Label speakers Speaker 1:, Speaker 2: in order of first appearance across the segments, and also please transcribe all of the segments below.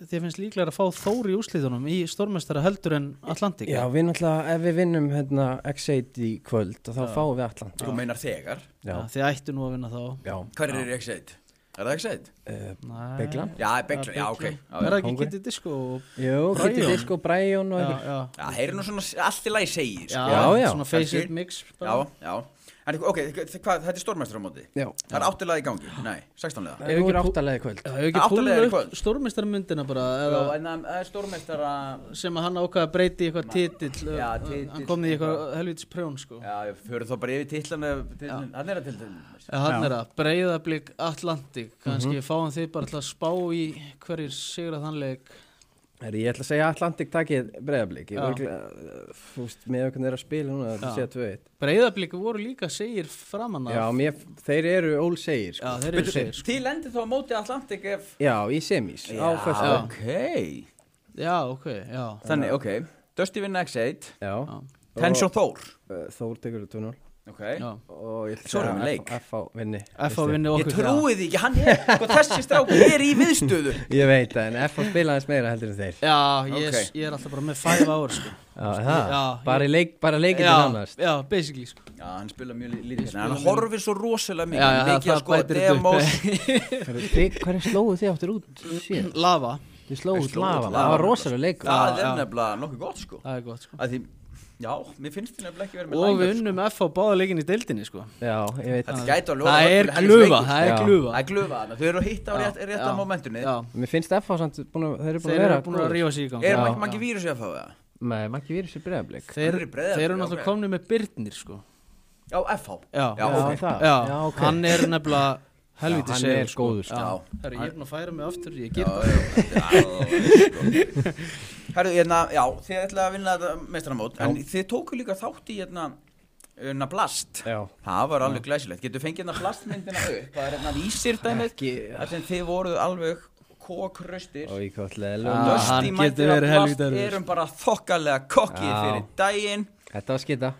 Speaker 1: þið finnst líklega að fá Þór í úsliðunum í stormestara heldur en Atlantik
Speaker 2: Já, við náttúrulega, ef við vinnum hérna, X8 í kvöld og þá
Speaker 1: Já.
Speaker 2: fáum við allan
Speaker 1: Já.
Speaker 2: Já,
Speaker 3: Þú meinar þegar
Speaker 2: já,
Speaker 1: Þið ættu nú að vinna þá
Speaker 2: já.
Speaker 3: Hvar er í X1? Er það X1?
Speaker 2: Uh,
Speaker 1: Nei.
Speaker 2: Beglan?
Speaker 3: Já, Beglan, já, ok
Speaker 1: Er
Speaker 3: Já,
Speaker 1: það
Speaker 3: já.
Speaker 1: ekki
Speaker 2: Kóngurinn.
Speaker 1: Kitty Disco og
Speaker 2: Jú,
Speaker 1: Brian.
Speaker 2: getur disko, Brian og
Speaker 1: já,
Speaker 2: eitthvað
Speaker 1: já.
Speaker 3: Já, það er nú svona allt í lagi segir sko.
Speaker 2: Já, já.
Speaker 1: Svona face
Speaker 3: Kannski.
Speaker 1: it mix
Speaker 3: já,
Speaker 1: bara.
Speaker 3: já En ok, þ- hvað, þetta er stórmestramóti
Speaker 2: Já,
Speaker 3: Það er áttilega í gangi, nei, 16 liða
Speaker 2: það er
Speaker 1: Ef
Speaker 2: ekki
Speaker 1: ekki-
Speaker 2: áttalega í kvöld
Speaker 1: Já, hefur ekki
Speaker 3: Átta liðar í
Speaker 1: púlið upp
Speaker 3: kvöld.
Speaker 1: stormestarmyndina bara eða
Speaker 3: en það er stórmestara
Speaker 1: sem að hann ákvaði að breyti í eitthvað titill
Speaker 3: Já,
Speaker 1: uh,
Speaker 3: titill,
Speaker 1: hann kom í eitthvað
Speaker 3: eitthvað.
Speaker 1: helvitis prjón sko
Speaker 3: Já, við förum þá bara yfir titlan Hann er að til
Speaker 1: Já, hann er að breyðablík Atlantik kannski fáum þið bara til að spá í hverjir sigra þannleik
Speaker 2: Herri, Ég ætla að segja Atlantik takið breyðablík
Speaker 1: Já.
Speaker 2: Fúst, með okkur er að spila núna
Speaker 1: Já.
Speaker 2: Það sé að tvö eitt
Speaker 1: breyðablík voru líka segir framann af
Speaker 2: Já, mér, þeir eru ólsegir
Speaker 1: Já,
Speaker 2: sko.
Speaker 1: þeir eru segir sko.
Speaker 3: Þið lendir þá á móti Atlantik ef
Speaker 2: já, í semis Á
Speaker 1: Já.
Speaker 2: föstu
Speaker 3: ok
Speaker 1: Já, ok, já
Speaker 3: Þannig, ok Dusty vinna X8
Speaker 2: Já,
Speaker 1: Já,
Speaker 3: Tensjón Þór
Speaker 2: Uh, Þór tekur 2-0
Speaker 3: Ok
Speaker 1: já.
Speaker 2: og ég
Speaker 3: Svo erum við leik.
Speaker 2: F á vinni
Speaker 1: F.A. vinni
Speaker 3: Ég
Speaker 1: okkur
Speaker 3: trúi því ekki, hann er sko, Þessi strákur er í viðstöðu
Speaker 2: Ég veit það, en F á spila aðeins meira heldur en þeir
Speaker 1: Já, já ég,
Speaker 3: Ok.
Speaker 1: ég er alltaf bara með 5 ár sko.
Speaker 2: Já, það,
Speaker 1: Já,
Speaker 2: bara, í leik, bara leikið
Speaker 1: já,
Speaker 2: til annars
Speaker 1: já, basically sko.
Speaker 3: Já, hann spila mjög lí- lítið
Speaker 1: Ég
Speaker 3: En hann
Speaker 1: spila mjög-
Speaker 3: horfir svo
Speaker 1: Já,
Speaker 3: rosalega mikið
Speaker 1: já,
Speaker 3: Mikið
Speaker 1: það
Speaker 3: að skoða
Speaker 1: bætir þetta upp.
Speaker 3: demos
Speaker 2: Hvernig slóðu þið áttur út síðan?
Speaker 1: Lava,
Speaker 2: Þið slóðu út
Speaker 3: slógu út
Speaker 2: lava,
Speaker 3: Lava.
Speaker 2: það var rosalega leikur
Speaker 3: Það
Speaker 1: Já,
Speaker 3: er
Speaker 1: já.
Speaker 3: nefnilega nokkuð gott sko
Speaker 1: það er gott sko.
Speaker 3: að því, já, mér finnst þið nefnilega ekki verið með
Speaker 1: Og við
Speaker 3: line-up,
Speaker 1: unnum F.A. báða leikin í deildinni sko.
Speaker 2: Já, ég veit
Speaker 3: sko.
Speaker 2: það
Speaker 3: Þetta gæti alveg
Speaker 1: Það
Speaker 3: orðið
Speaker 1: er
Speaker 3: helviti
Speaker 1: glufa,
Speaker 3: leikur, sko.
Speaker 1: það er
Speaker 2: Já.
Speaker 1: glufa
Speaker 3: Það er glufa þarna, þau eru að hitta á rétt,
Speaker 1: Já,
Speaker 3: rétta
Speaker 1: já,
Speaker 3: momentunni
Speaker 1: já.
Speaker 2: Mér finnst F á samt búin að, þeir eru
Speaker 1: Þeir
Speaker 2: búin
Speaker 1: eru
Speaker 2: að vera
Speaker 1: búin að
Speaker 2: góðir.
Speaker 1: rífa sig í gang
Speaker 3: Er
Speaker 2: Já.
Speaker 3: maður ekki vírus í að fá það?
Speaker 2: Nei, maður ekki virðis í bregðarblik
Speaker 1: Þeir,
Speaker 3: Þeir eru breiðari,
Speaker 1: þeir eru
Speaker 3: ok.
Speaker 1: náttúrulega komni með Byrnir sko.
Speaker 3: Já, FH
Speaker 1: Já,
Speaker 3: Já, ok.
Speaker 2: það
Speaker 1: já,
Speaker 2: Já, ok
Speaker 1: hann er nefnilega
Speaker 2: Já,
Speaker 1: helviti
Speaker 2: hann er
Speaker 1: segur sko.
Speaker 2: góður, sko.
Speaker 1: Já.
Speaker 3: Já.
Speaker 1: Herru, ég er búin að færa mig aftur, ég
Speaker 3: Já,
Speaker 1: ger það
Speaker 3: já, þetta er alveg, sko. Herru, hérna, já, þið ætlaði að vinna þetta mestranamót En þið tóku líka þátt í hérna, hérna blast
Speaker 2: Já
Speaker 3: Það var alveg glæsilegt Getur fengið hérna blastmyndina upp Það er hérna vísir dæmið Þar sem þið voruð alveg kókraustir
Speaker 2: Og ég kallið
Speaker 1: Ah,
Speaker 2: ah,
Speaker 1: hann
Speaker 3: Dusty
Speaker 1: getur
Speaker 3: mætir að
Speaker 1: verið
Speaker 3: blast
Speaker 1: helvítarður.
Speaker 3: Erum bara þokkalega kokkið
Speaker 2: Já.
Speaker 3: fyrir daginn
Speaker 2: Þetta var skita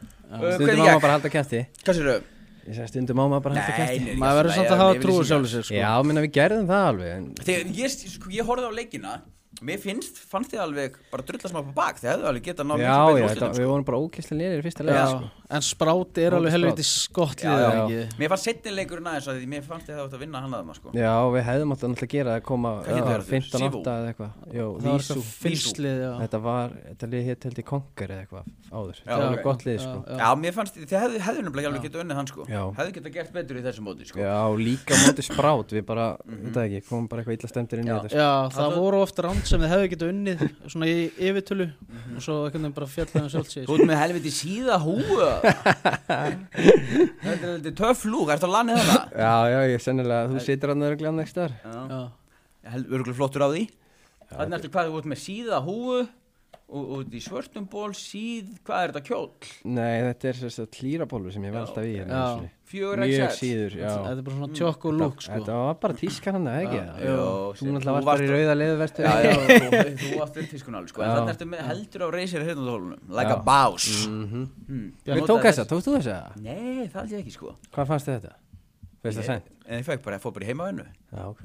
Speaker 2: Stundum
Speaker 3: hvernig
Speaker 2: má
Speaker 3: gekk?
Speaker 2: maður bara halda kæfti
Speaker 3: Hvað sér þau?
Speaker 2: Ég sagði stundum má maður bara halda kæfti
Speaker 3: Nei, nei,
Speaker 1: Maður verður samt að hafa trú á sjálfu
Speaker 3: sér
Speaker 1: sér sko.
Speaker 2: Já, minna við gerðum það alveg en-
Speaker 3: Þegar ég, sko, ég horfði á leikina Mér finnst, fannst þið alveg bara drulla smá på bak Þið hefðu alveg getað
Speaker 2: Já,
Speaker 3: náð miklu
Speaker 2: já,
Speaker 3: betri
Speaker 2: þetta,
Speaker 3: úrslitum, sko.
Speaker 2: við vorum bara ókesslega nýðir í fyrsta
Speaker 1: Já,
Speaker 2: leik sko.
Speaker 1: En spráti er
Speaker 2: Spráti
Speaker 1: alveg
Speaker 2: Sprát.
Speaker 1: helviti skottlið
Speaker 2: Já, já.
Speaker 3: sko. Mér fannst setni leikurinn aðeins að því Mér fannst þið að það átt að vinna hann aðeins sko.
Speaker 2: Já, við hefðum alltaf náttúrulega gera að koma
Speaker 3: Hvað heitir
Speaker 2: já,
Speaker 3: það?
Speaker 2: 15-8
Speaker 3: Sivu?
Speaker 2: eða eitthvað Jó,
Speaker 1: Það var
Speaker 2: Vísu
Speaker 1: eitthvað fylslið já.
Speaker 2: Þetta var, þetta lið hétt held í Kongar eða eitthvað áður Þetta
Speaker 3: Já,
Speaker 2: var
Speaker 3: ok.
Speaker 2: gott lið
Speaker 1: Já,
Speaker 2: sko
Speaker 1: já.
Speaker 3: já. mér fannst þið, þið hefðu, hefðu nefnilega alveg getað unnið hann sko.
Speaker 2: Já.
Speaker 3: Hefðu getað gert betur í þessu móti sko.
Speaker 2: Já, líka móti sprát, við bara, þetta ekki, komum bara eitthvað illa stemdir inn í
Speaker 3: Mhm.
Speaker 2: þetta
Speaker 3: Já.
Speaker 2: sko.
Speaker 1: Já, það
Speaker 3: Þetta-
Speaker 1: voru ofta ránd sem þið hefðu getið unnið svona í yfirtölu og svo einhvern veginn bara um fjallaðum sjálft sig
Speaker 3: Þú ert með helviti síða húu Þetta er helviti töff lúk Ertu að lana það?
Speaker 2: Já, já, ég sennilega, þú situr hann örglega nægst þar
Speaker 3: Já,
Speaker 1: Já,
Speaker 3: örgulega flottur á því Þannig ertu hvað þú ert með síða húu og, og í svörtum ból síð, hvað er þetta kjól?
Speaker 2: Nei, þetta er þess að hlýrabólfi sem ég var alltaf í hérna
Speaker 1: Já.
Speaker 2: einu sinni.
Speaker 3: Fjögur
Speaker 2: Mjög síður, já
Speaker 1: þetta er bara svona tjokk og lúk sko
Speaker 2: Þetta var bara tískan hann, eða
Speaker 1: Já,
Speaker 2: ekki?
Speaker 3: já.
Speaker 2: Þú náttúrulega
Speaker 3: Þú
Speaker 2: varst
Speaker 3: varst-
Speaker 2: bara í rauða leðuvertu
Speaker 3: Já, já, þú, þú varst fyrir tískun alveg sko En
Speaker 2: Já.
Speaker 3: þannig ertu með heldur á reysir hérna tólunum
Speaker 2: Já.
Speaker 3: Like a boss mm.
Speaker 2: Mhm. Við tók þessa, tókst þú þessa?
Speaker 3: Nei, það held ég ekki sko
Speaker 2: Hvað fannst þið þetta? Veist það sænt?
Speaker 3: En ég fekk bara, fór bara í heimavinnu
Speaker 2: Já, ok